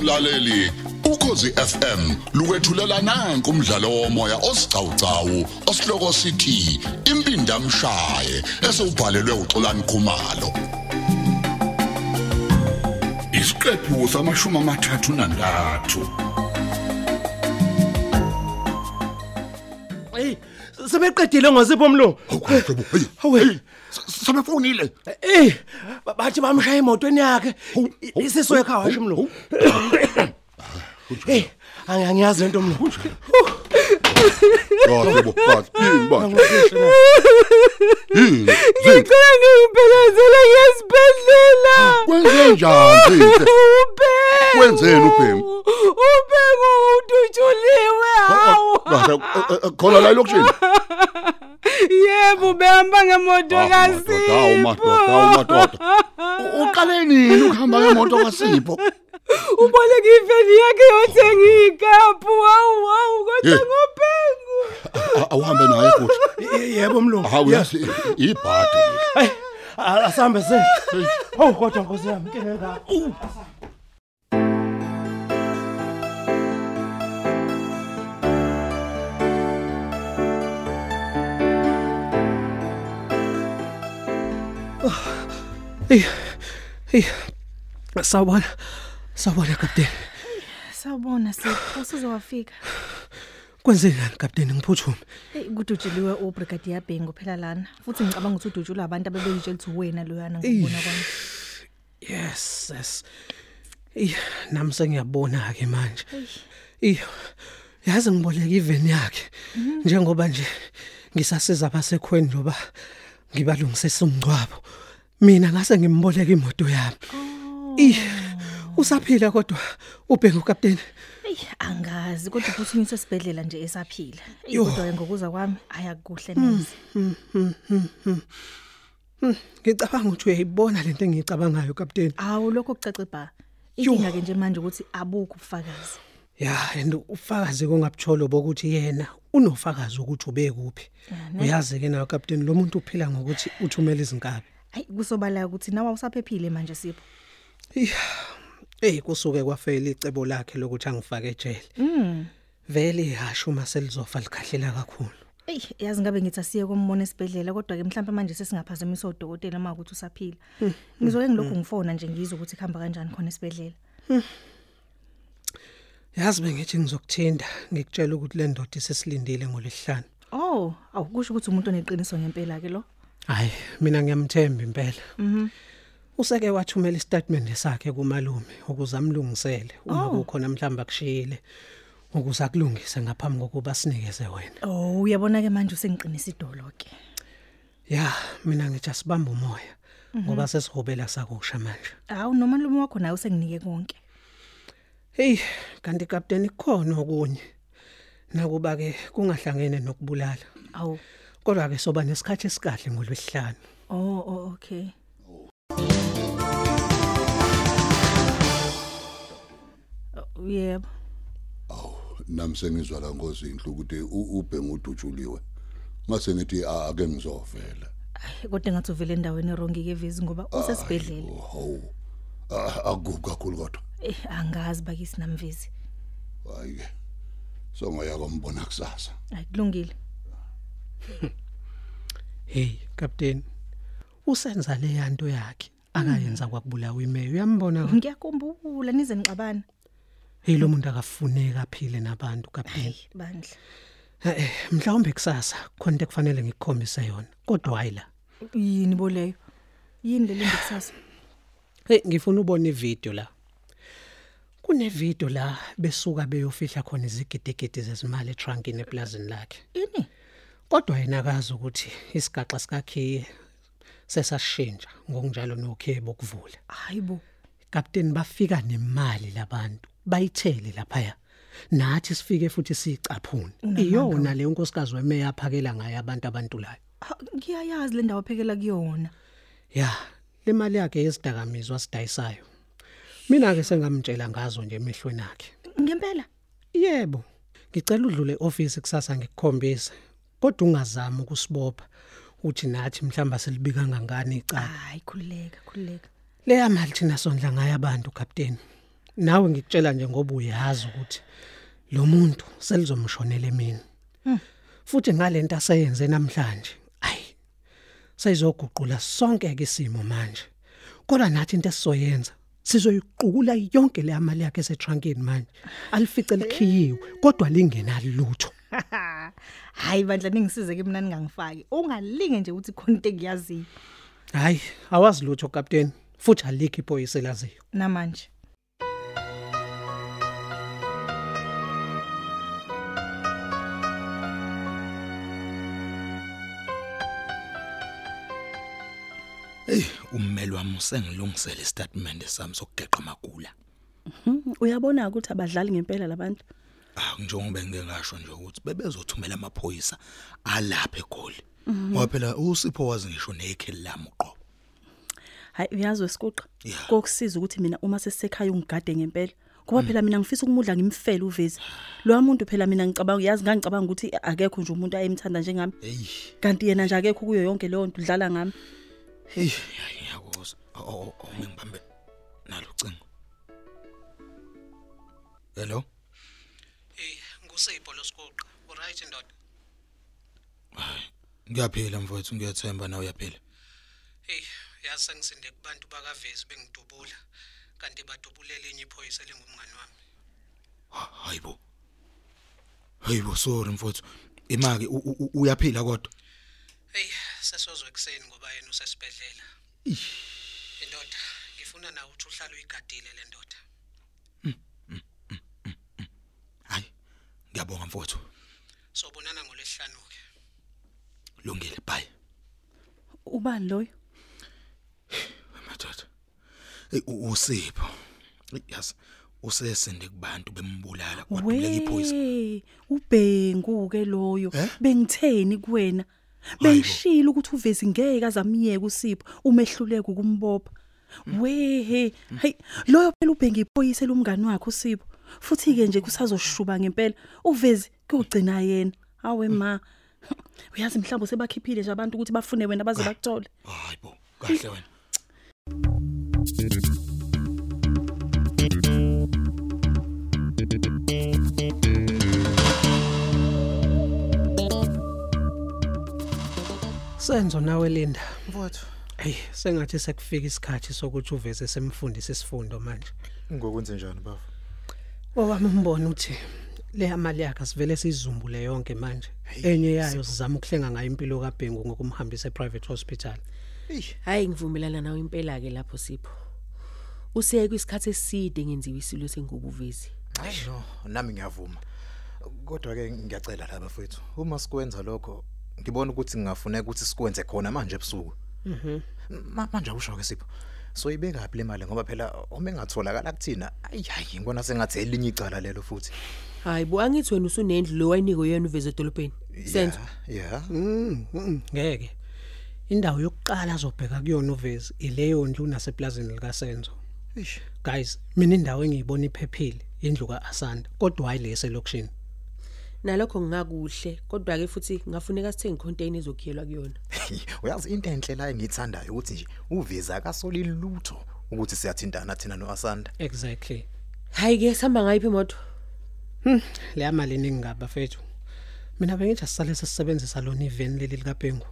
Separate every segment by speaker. Speaker 1: mlaleli ukhosi FM lukwethulela nanku umdlalo womoya osiqhawqhawo osihloko sithi impindi amshaye esubhalelwe uXolani Khumalo isiqephu samashumi amathathu nantathu
Speaker 2: Ey, sebeqedile ngozipho mlo.
Speaker 1: Hawuhlobo hey
Speaker 2: Hawe.
Speaker 1: sabafonile
Speaker 2: Ey, ba- bathi bamshaya emotweni yakhe.
Speaker 1: Hawu,
Speaker 2: I-
Speaker 1: hawu,
Speaker 2: Isiso yakhe awasho mlo. Ey, angi- angiyazi lento mlo.
Speaker 1: yebo bathi yini bathi yini
Speaker 3: Ngicela ngibelezele ngesibhedlela.
Speaker 1: kwenze njani zinhle
Speaker 3: Ubheko.
Speaker 1: Wenzeni uBhemu? Oh,
Speaker 3: Ubheko udutshuliwe hawo.
Speaker 1: khona la lokishini
Speaker 3: Yebo behamba ngemoto
Speaker 4: Ah,
Speaker 3: kasipho.
Speaker 1: Hawu madoda, hawu madoda. U- Uqale nini ukuhamba ngemoto kaSipho?
Speaker 3: Uboleke iveni yakhe yothenga ikapu. Hawu hawu kodwa
Speaker 1: Hey.
Speaker 3: ngobhengu.
Speaker 1: A- Awuhambe naye futhi.
Speaker 2: Ye- Yebo mlo.
Speaker 1: Hawu yazi ibhadi.
Speaker 2: Ey, a- asambe sen. Oh, kodwa nkosi yami, ngeke ngakho. Hey. Hey. Sawubona. Sawubona kapteni.
Speaker 5: Sawubona sipho sizowafika.
Speaker 2: Kwenzekani kapteni ngiphuthume?
Speaker 5: Hey kudutshuliwe uBrigade yaBhengu phela lana. Futhi ngicabanga ukuthi udutshulwa abantu abebeyitshela ukuthi wena loyana ngokubona kwami.
Speaker 2: Yes, yes. Eh nami sengiyabona ke manje. Eh yazi ngiboleka iveni yakhe. Njengoba nje ngisasiza abasekhweni njoba ngibalungisisa umgcwabo. Mina ngase ngimboleka imoto yami. Eh usaphila kodwa ubhengu captain.
Speaker 5: Hey angazi kodwa uphuthunyiswe esibedlela nje esaphila. Eyi,
Speaker 2: Yo.
Speaker 5: Kodwa ngokuza kwami ayakuhle neze.
Speaker 2: Ngicabanga ukuthi uyayibona lento engiyicabangayo captain.
Speaker 5: Awu lokho kucace ba. Inkinga ke nje manje ukuthi abukho ubufakazi.
Speaker 2: Ya and ufakaze kongabucholo bokuthi yena unofakazi ukuthi ube kuphi. Uyazi ke nawe captain lo muntu uphila ngokuthi uthumela izinkabi.
Speaker 5: Hayi kusobala ukuthi nawe awusaphephile manje sipho.
Speaker 2: Eh kusuke kwafela icebo lakhe lokuthi angifake ejele. Mm. Vele ihashu maselizofa likhahlela kakhulu.
Speaker 5: Ey yazi ngabe ngithi asiye kombona esibedlela kodwa ke mhlawumbe manje sesingaphazamisa odokotela uma ukuthi usaphila. Ngizoke ngilokhu ngifona nje ngizwe ukuthi kuhamba kanjani khona esibedlela.
Speaker 2: Yazi bengithi ngizokuthinda ngikutshela ukuthi le ndoda isesilindile ngolesihlanu.
Speaker 5: Oh, awukusho ukuthi umuntu oneqiniso ngempela ke lo.
Speaker 2: Hayi mina ngiyamthemba impela. Mhm. Useke wathumela istatement sakhe kumalume ukuze amlungisele uma kukhona mhlamba kushiyile ukuze akulungise ngaphambi kokuba sinikeze wena.
Speaker 5: Oh, uyabona ke manje usengiqinisa idolo ke.
Speaker 2: Ya, mina ngitsha sibamba umoya ngoba sesihobela sakusha manje.
Speaker 5: Hawu noma lume wakho naye usenginike konke.
Speaker 2: Hey, kanti captain kukhona okunye. Nakuba ke kungahlangene nokubulala.
Speaker 5: Awu.
Speaker 2: Kodwa ke soba nesikhathi esikahle ngolwesihlanu.
Speaker 5: Oh, oh okay. Oh, Yebo.
Speaker 4: nami sengizwa la ngozinhle ukuthi u- ubhengu udutshuliwe ngase ngithi ah, ake ngizovela
Speaker 5: Ayi, Kodwa ngathi uvele endaweni erongi ke vezi ngoba usesibedlela.
Speaker 4: Oh, hawu Ah, akubi kakhulu kodwa
Speaker 5: Eh, angazi bakisi namvezi.
Speaker 4: hayi ke songoya kombona kusasa
Speaker 5: Ayikulungile.
Speaker 2: Hey, captain. Usenza le yanto yakhe. Akayenza kwakubulawa imeyo. Uyambona kodwa?
Speaker 5: Ngiyakhumbula nize nixabana.
Speaker 2: hey lo muntu akafuneki aphile nabantu captain.
Speaker 5: Ayi, bandla.
Speaker 2: Eh, mhlawumbe kusasa khona into ekufanele ngikukhombise yona. Kodwa hayi la.
Speaker 5: Yini bo leyo? Yini le lindikusasa?
Speaker 2: Hey, ngifuna ubone ivideo la. Kune video la besuka beyofihla khona izigidigidi zezimali etrunkini eplazini lakhe.
Speaker 5: Ini?
Speaker 2: Kodwa yena akazi ukuthi isigaxa sikakhe sesashintsha ngokunjalo nokhebo kuvula.
Speaker 5: Hayibo.
Speaker 2: Captain bafika nemali labantu bayithele lapha. Nathi sifike futhi sicaphuna. Iyona le unkosikazi wemeya aphakela ngayo abantu abantulayo.
Speaker 5: Ah, Ngiyayazi le ndawo aphekela kuyona.
Speaker 2: Ya, le mali yakhe yesidakamizwa sidayisayo. Mina ke sengamtshela ngazo nje emehlweni akhe.
Speaker 5: Ngempela.
Speaker 2: Yebo. Ngicela udlule office kusasa ngikukhombise. Kodwa ungazami ukusibopha uthi nathi mhlamba silibika ngangani icala.
Speaker 5: Hayi khululeka, khululeka.
Speaker 2: Leya mali thina sondla ngayo abantu captain. nawe ngikutshela nje ngoba uyazi ukuthi lo muntu selizomshonela mina futhi ngalento aseyenze namhlanje ayi sayizoguqula sonke ke isimo manje kodwa nathi into esizoyenza sizoyiqukula yonke le imali yakhe esetrunkini manje alifice likhiyiwe kodwa lingenalutho
Speaker 5: hayi bandla ningisize ke mina ningangifaki ungalinge nje ukuthi khona into engiyaziyo
Speaker 2: hayi awazi lutho captain futhi alikho ipolice laziyo
Speaker 5: namanje
Speaker 1: Ey, ummeli wami usengilungisele istatement sami sokugeqa amagula.
Speaker 6: uyabona ukuthi abadlali ngempela labantu
Speaker 1: Ah, njengoba ngingasho nje ukuthi bebezothumela amaphoyisa alapha eGoli. Ngoba phela uSipho wazi ngisho nekheli lami uqobo.
Speaker 6: hayi uyazi wesikuqa
Speaker 1: Yeah.
Speaker 6: kokusiza ukuthi mina uma sesekhaya ungigade ngempela kuba phela mina ngifisa ukumudla ngimfele uvezi lo muntu phela mina ngicabanga uyazi ngangicabanga ukuthi akekho nje umuntu ayemthanda njengami
Speaker 1: Ey,
Speaker 6: kanti yena nje akekho kuyo yonke leyo nto udlala ngami
Speaker 1: hey, ngiyakuzwa. Oh, oh, ngibambe nalucingo. Hello?
Speaker 2: hey Eh, ngusipho lo skuqa uright ndoda
Speaker 1: Ngiyaphila mfowethu, ngiyathemba nawe uyaphila.
Speaker 2: hey yazi sengisinde kubantu bakavezi bengidubula kanti badubulela inye ipolice lengumngani wami
Speaker 1: Ha- Hayibo. Hayibo, sorry mfowethu. Imaki u- u- u- uyaphila kodwa.
Speaker 2: hey sesozwe ekseni ngoba yena usesibedlela indoda ngifuna nawe uthi uhlale uyigadile le ndoda
Speaker 1: Hayi. Ngiyabonga mfowethu.
Speaker 2: sobonana ngolesihlanu ke
Speaker 1: Lungile, bye.
Speaker 6: ubani loyo
Speaker 1: madoda ey u- usipho Ey, yazi usesende kubantu bembulala kwaduleka iphoyisa
Speaker 6: we ubhengu-ke loyo
Speaker 1: Eh?
Speaker 6: bengitheni kuwena beyishilo ukuthi uvezi ngeke azamiyeka usipho umehluleka ukumbopha wehe hayi loyo phela ubhengu iphoyisa elumngani wakhe usipho futhi-ke nje kusazoshuba ngempela uvezi kuyogcina yena awe ma uyazi mhlawumbe sebakhiphile nje abantu ukuthi bafune wena baze bakuthole
Speaker 1: hayibo kahle wena
Speaker 2: senzo nawe Linda
Speaker 7: mfowethu
Speaker 2: hey sengathi sekufika isikhathi sokuthi uveze semfundisi isifundo manje
Speaker 7: ngokwenze njani baba
Speaker 2: owami umbono uthi le imali yakhe sivele sizumbule yonke manje enye yayo sizama ukuhlenga ngayo impilo kaBhengu ngokumhambisa eprivate hospital
Speaker 3: hayi ngivumelana nawe impela ke lapho sipho useye kwisikhathi eside ngenziwe isilo sengubuvezi
Speaker 7: hayi no nami ngiyavuma kodwa ke ngiyacela la bafethu uma sikwenza lokho ngibona ukuthi ngingafuneka ukuthi sikwenze khona manje ebusuku mhm manje awusho ke sipho soyibeka phi le mali ngoba phela uma engatholakala kuthina ayi hayi ngibona sengathi elinye icala lelo futhi
Speaker 3: hayi bo angithi wena usunendlu lo wayinikwe yona uvezi edolobheni senzo
Speaker 7: yeah
Speaker 2: Mm, mm, ngeke indawo yokuqala azobheka kuyona uvezi ileyo ndlu naseplazini lika Senzo
Speaker 7: eish
Speaker 2: guys mina indawo engiyibona iphephile indlu kaAsanda kodwa hayi lese lokushini
Speaker 3: nalokho ngingakuhle kodwa-ke futhi kungafuneka sithenge icontainer ezokhiyelwa kuyona
Speaker 7: uyazi into enhle la engiyithandayo ukuthi nje uveza akasoli lutho ukuthi siyathintana thina noasanda
Speaker 2: exactly
Speaker 3: hayi-ke sihamba ngayiphi imoto
Speaker 2: hm leya mali ningaba fethu mina bengithi asisale sisebenzisa lona iveni leli likaBhengu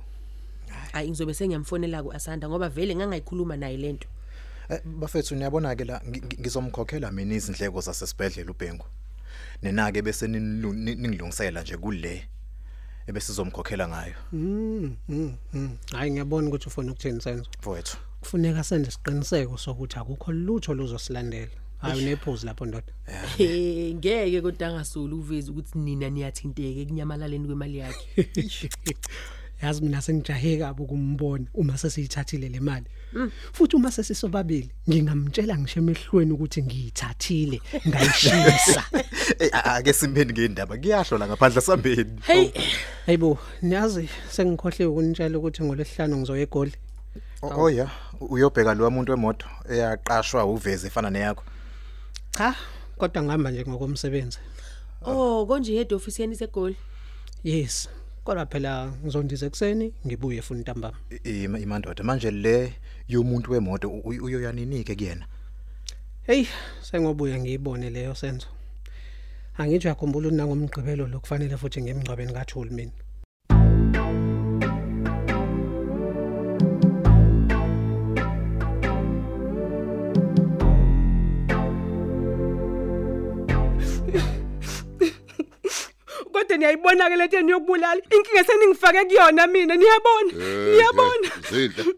Speaker 3: hayi ngizobe sengiyamfonela ku-asanda ngoba vele ngangayikhuluma naye le nto
Speaker 7: Eh, bafethu niyabona ke la ngi- ngi- ngizomkhokhela mina izindleko zasesibhedlela uBhengu. Nina ke bese ninilu- ni- ningilungisela nje kule ebesizomkhokhela ngayo
Speaker 2: Mm, mm, mm. hayi ngiyabona ukuthi ufuna ukuthini senzo
Speaker 7: mfowethu.
Speaker 2: kufuneka senze isiqiniseko sokuthi akukho lutho luzosilandela hayi unephuzi lapho ndoda
Speaker 3: Eh, ngeke kodwa angasoli uvezi ukuthi nina niyathinteke kunyamalaleni kwemali yakhe
Speaker 2: yazi mina sengijahe kabi ukumbona uma sesiyithathile le mali futhi uma sesisobabili ngingamtshela ngisho emehlweni ukuthi ngiyithathile ngayishisa
Speaker 7: Eh, a- Ake simbeni ngendaba kuyahlola ngaphandle sambeni.
Speaker 3: heyi
Speaker 2: hayibo niyazi sengikhohliwe ukunitshela ukuthi ngolwesihlanu ngizoya egoli
Speaker 7: O- Oh yeah, u- uyobheka lo muntu wemoto eyaqashwa uveze efana neyakho.
Speaker 2: cha kodwa ngihamba nje ngokomsebenzi
Speaker 8: Oh.
Speaker 3: o Oh, konje yedwa ofisi yeni isegoli
Speaker 2: yes kodwa phela ngizondiza ekuseni ngibuye futhi ntambama
Speaker 7: I- i- Imandoda manje le yomuntu wemoto u- u- uyoyaninike kuyena.
Speaker 2: Hey, sengobuya ngiyibone leyo senzo. Angithi uyakhumbula ukuthi nangomgqibelo lokufanele futhi ngemgcwabeni kaJoel mina.
Speaker 8: kodwa niyayibona ke lento eniyokubulala inkinga seningifake kuyona mina niyabona
Speaker 4: Eh,
Speaker 8: niyabona
Speaker 4: Zindle.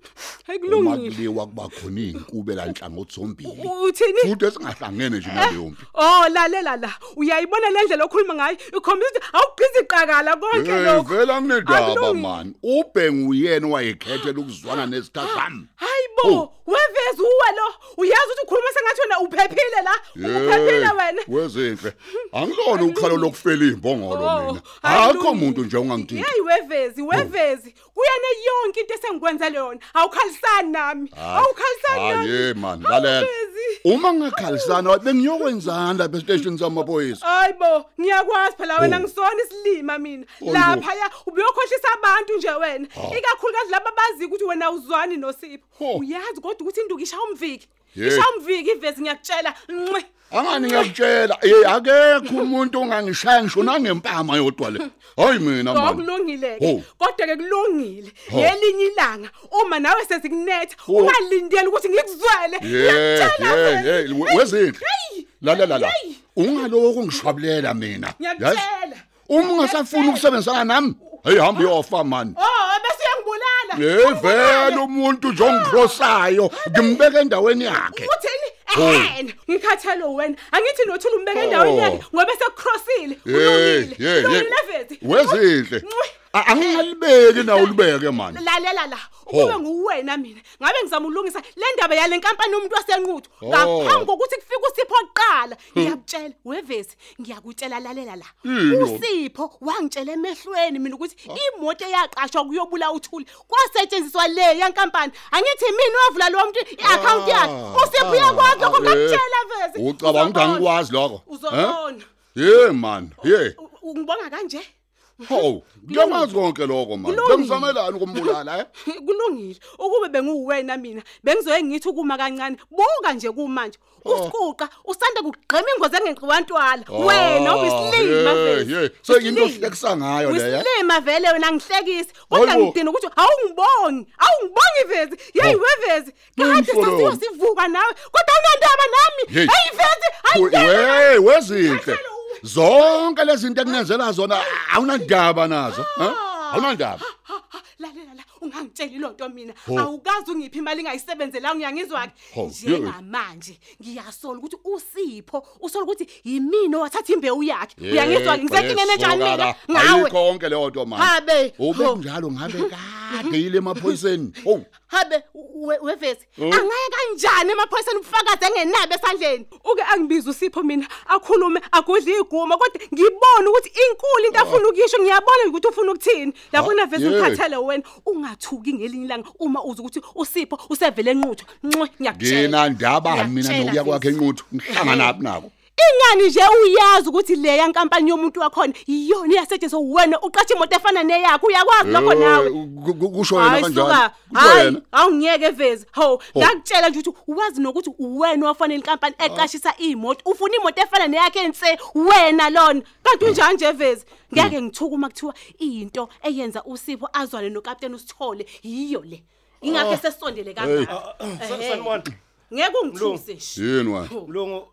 Speaker 8: hayi kulungile
Speaker 4: Umakuliwa kuba khona izinkube la nhlangothi zombili.
Speaker 8: U- uthini
Speaker 4: Futhi esingahlangene nje naleyo mpi.
Speaker 8: oh lalela la uyayibona le ndlela okhuluma ngayo ikhombisa ukuthi awugqizi iqakala konke
Speaker 4: Eh
Speaker 8: lokho
Speaker 4: vela kunendaba
Speaker 8: Akulungile.
Speaker 4: man. Ubhengu uyena wayekhethela ukuzwana nesithathami.
Speaker 8: hayi bo weveza uwe lo uyazi ukuthi ukhuluma sengathi wena uphephile la uphephile wena
Speaker 4: Wezinhle. Angilona Eh, ukhalo lokufela imbongolo
Speaker 8: Oh,
Speaker 4: mina. Ah, Akho
Speaker 8: akulungile.
Speaker 4: umuntu nje ongangithini.
Speaker 8: Hey wevezi, wevezi. Kuyena yonke into esengikwenza leyona. Awukhalisani nami. Awukhalisani nami.
Speaker 4: Ah, Hayi man,
Speaker 8: Hawu,
Speaker 4: lalela.
Speaker 8: Vezi.
Speaker 4: Uma ngingakhalisana bengiyokwenzani lapha e-station samaphoyisa?
Speaker 8: Hayibo, ngiyakwazi phela wena
Speaker 4: Oh.
Speaker 8: ngisona isilima mina.
Speaker 4: Hayibo.
Speaker 8: Lapha ya ubeyokhohlisa abantu nje wena.
Speaker 4: Ha.
Speaker 8: Ikakhulukazi laba bazi ukuthi wena uzwani
Speaker 4: Ho.
Speaker 8: noSipho. Uyazi kodwa ukuthi induku isha umviki.
Speaker 4: Oh. Yey.
Speaker 8: Isha umviki ivezi ngiyakutshela. Nqi.
Speaker 4: Angani ngiyakutshela, eh akekho umuntu ongangishaya ngisho nangempama yodwa le. Hayi mina man.
Speaker 8: Okulungile
Speaker 4: Ho.
Speaker 8: ke. Kodwa ke kulungile.
Speaker 4: Ho.
Speaker 8: Yelinye ilanga uma nawe sezikunetha
Speaker 4: Ho.
Speaker 8: ungalindeli ukuthi ngikuzwele.
Speaker 4: Yeah,
Speaker 8: Ngiyakutshela
Speaker 4: yeah,
Speaker 8: wena.
Speaker 4: yeah, wezinhle.
Speaker 8: Hey.
Speaker 4: La la la la.
Speaker 8: Hey.
Speaker 4: Ungaloko ngishwabulela mina.
Speaker 8: Ngiyakutshela.
Speaker 4: Uma ungasafuni ukusebenzisana nami, hey hamba uyofa man.
Speaker 8: Oh, bese uyangibulala.
Speaker 4: Hey
Speaker 8: oh.
Speaker 4: vele umuntu nje ongikrosayo, ngimbeka endaweni yakhe.
Speaker 8: Uthini?
Speaker 4: Oh.
Speaker 8: Ehena, ngikhathalo wena. Angithi nothula umbeke endaweni
Speaker 4: Oh.
Speaker 8: yakhe ngoba sekucrossile.
Speaker 4: Hey, yeah, yeah. Wezinhle. A- Angingalibeki nawo ulibeke man.
Speaker 8: Lalela la.
Speaker 4: Ho.
Speaker 8: Ukube nguwena mina, ngabe ngizama ulungisa le ndaba yale nkampani yomuntu wasenquthu.
Speaker 4: Oh.
Speaker 8: Ngaphambi kokuthi kufike uSipho oqala, ngiyakutshela, wevesi, ngiyakutshela lalela la.
Speaker 4: Hm. Yini? Ah.
Speaker 8: uSipho wangitshela emehlweni mina ukuthi imoto eyaqashwa kuyobula uthuli kwasetshenziswa le yankampani. Angithi mina wavula lo muntu i-account yakhe.
Speaker 4: Ah,
Speaker 8: uSipho
Speaker 4: ah,
Speaker 8: uyakwazi lokho
Speaker 4: ah,
Speaker 8: ngakutshela
Speaker 4: eh.
Speaker 8: vezi.
Speaker 4: Ucabanga ukuthi
Speaker 8: Uzobona.
Speaker 4: angikwazi lokho? Eh?
Speaker 8: Uzobona.
Speaker 4: Yeah man, yeah.
Speaker 8: U- u- Ungibonga kanje?
Speaker 4: Ho, ngiyakwazi konke lokho man.
Speaker 8: Kulungile.
Speaker 4: Bengizamelani ukumbulala, eh?
Speaker 8: kulungile ukube benguwena mina bengizoye ngithi kuma kancane buka nje kumanje
Speaker 4: Oh.
Speaker 8: usiquqa usanda kugqima ingozi engenqiwantwala wena ubisilima
Speaker 4: yeah,
Speaker 8: vele
Speaker 4: yeah. So yinto ohlekisa ngayo le, yeah?
Speaker 8: ubisilima vele wena ngihlekisi kodwa
Speaker 4: Hayibo.
Speaker 8: ngidina ukuthi awungibongi awungibongi vezi yeyi
Speaker 4: Oh.
Speaker 8: wevezi kade
Speaker 4: Mfolo.
Speaker 8: sasiyozivuka nawe kodwa unandaba nami
Speaker 4: Hey.
Speaker 8: heyi vezi
Speaker 4: Ku-
Speaker 8: hayi
Speaker 4: Wey, wezinhle.
Speaker 8: Hayi, hayi,
Speaker 4: Zonke lezi zinto ekunenzela zona awunandaba nazo, eh?
Speaker 8: Ah.
Speaker 4: Awunandaba.
Speaker 8: Ha, ha, lalela la ungangitsheli lonto mina
Speaker 4: Ho.
Speaker 8: awukazi ungiphi imali engayisebenzela ngiyangizwa ke
Speaker 4: Ho,
Speaker 8: njengamanje ngiyasola ukuthi usipho usola ukuthi yimini owathatha imbewu yakhe
Speaker 4: Yeah,
Speaker 8: uyangizwa ke ngisenkingeni enjani
Speaker 4: bayesokala.
Speaker 8: mina ngawe
Speaker 4: Ayikho konke leyo nto man.
Speaker 8: habe ho,
Speaker 4: Ube njalo ngabe kade yile emaphoyiseni. Oh.
Speaker 8: habe we- wevesi
Speaker 4: Oh.
Speaker 8: angaya kanjani emaphoyiseni ubufakazi engenabo esandleni uke angibize usipho mina akhulume agudle iguma kodwa ngibone ukuthi inkulu into afuna ukuyisho ngiyabona nje ukuthi ufuna ukuthini
Speaker 4: Ah,
Speaker 8: yabona vesi
Speaker 4: yeah.
Speaker 8: ngikhathele wena ungathuki ngelinye ilanga uma uza ukuthi usipho usevele enquthu nxe ngiyakutshela
Speaker 4: Ngina ndaba mina
Speaker 8: Ngiyakutshela,
Speaker 4: nokuya kwakhe
Speaker 8: Vesi.
Speaker 4: enquthu. Ngihlangana naphi nako?
Speaker 8: ingani nje uyazi ukuthi le yankampani yomuntu wakhona yiyona iyasetshenziswa wena uqashe imoto efana neyakho uyakwazi lokho nawe
Speaker 4: Eh, ku- ku- kusho yena
Speaker 8: hayi
Speaker 4: kanjani
Speaker 8: suka
Speaker 4: kusho
Speaker 8: hayi
Speaker 4: yena Oh.
Speaker 8: awungiyeke vezi ho
Speaker 4: Ho.
Speaker 8: ngakutshela nje ukuthi wazi nokuthi wena owafanele inkampani
Speaker 4: Ah.
Speaker 8: eqashisa imoto ufuna imoto efana neyakhe enhle wena lona kanti
Speaker 4: Hmm.
Speaker 8: unjani nje vezi ngeke ngithuka uma kuthiwa into eyenza usipho azwane nokapteni usithole yiyo le ingakho
Speaker 4: Ah.
Speaker 8: sesondele kangaka
Speaker 9: ah. sanibona
Speaker 8: ngeke ungithuse nje
Speaker 4: yini wena
Speaker 9: mlungu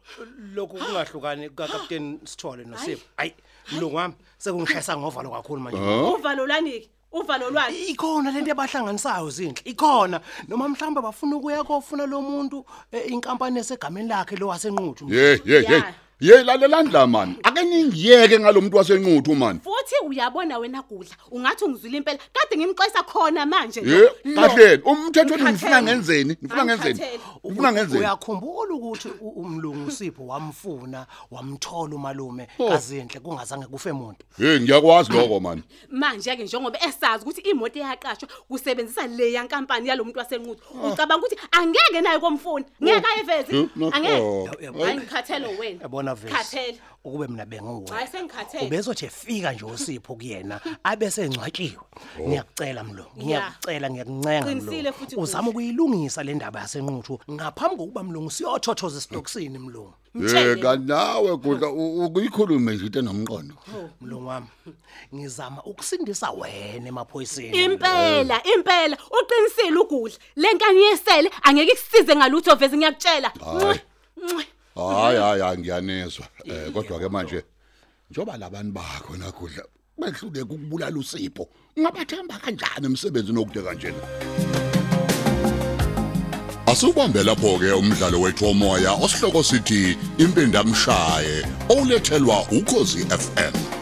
Speaker 9: lokhu kungahlukani kukakapteni sithole nosipho hayi mlungu wami sekungishayisa ngovalo kakhulu manje
Speaker 8: uvalo lwanike uvalo lwani
Speaker 9: ikhona lento abahlanganisayo zinhle ikhona noma mhlawumbe bafuna ukuya kofuna lo muntu eh, inkampani esegameni lakhe lo wasenquthu
Speaker 4: hey hey hey
Speaker 8: Yeah.
Speaker 4: hey lalelandla man ake ningiyeke ngalomuntu wasenquthu man
Speaker 8: futhi uyabona wena gudla ungathi ungizwile impela kade ngimxwayisa khona manje lo-
Speaker 4: ye
Speaker 8: lo.
Speaker 4: kahleni umthetho wenu nifuna
Speaker 8: Ngikhathele.
Speaker 4: ngenzeni nifuna ngenzeni
Speaker 8: Angikhathele.
Speaker 4: ufuna ngenzeni
Speaker 9: uyakhumbula ukuthi u- umlungu usipho wamfuna wamthola umalume
Speaker 4: Oh.
Speaker 9: kazinhle kungazange kufe muntu
Speaker 4: hey ngiyakwazi lokho man
Speaker 8: manje-ke njengoba esazi ukuthi imoto eyaqashwa kusebenzisa le yankampani yalo muntu wasenquthu
Speaker 4: Ah.
Speaker 8: ucabanga ukuthi angeke naye komfuni ngeke ayiveze
Speaker 4: Eh, no-
Speaker 8: angeke
Speaker 4: oh.
Speaker 8: hayi ngikhathelo wena
Speaker 9: yabona khona vese
Speaker 8: Khathele.
Speaker 9: ukube mina benguwe
Speaker 8: Hhayi, sengikhathele.
Speaker 9: ubezothi efika nje usipho kuyena abesengcwatshiwe ngiyakucela mlo ngiyakucela ngiyakuncenga
Speaker 8: Qinisile
Speaker 9: mlo
Speaker 8: futhi
Speaker 9: uzama ukuyilungisa le ndaba yasenquthu ngaphambi kokuba mlungu siyothothoza isitokisini mlungu
Speaker 4: Eh kanawe kudla u- ukuyikhulume nje into nomqondo.
Speaker 9: mlungu wami ngizama ukusindisa wena emaphoyiseni
Speaker 8: impela impela uqinisile ugudla le nkani yesele angeke ikusize ngalutho veze ngiyakutshela
Speaker 4: Hhayi.
Speaker 8: Ncwe,
Speaker 4: Hayi hayi hayi, ngiyanezwa. Eh kodwa ke manje njoba labantu bakho nakudla behlule ukubulala usipho. Ungabathemba kanjani umsebenzi nokude kanjena? Asubambe lapho ke umdlalo wethu omoya osihloko sithi impindamshaye olethelwa ukozi FM.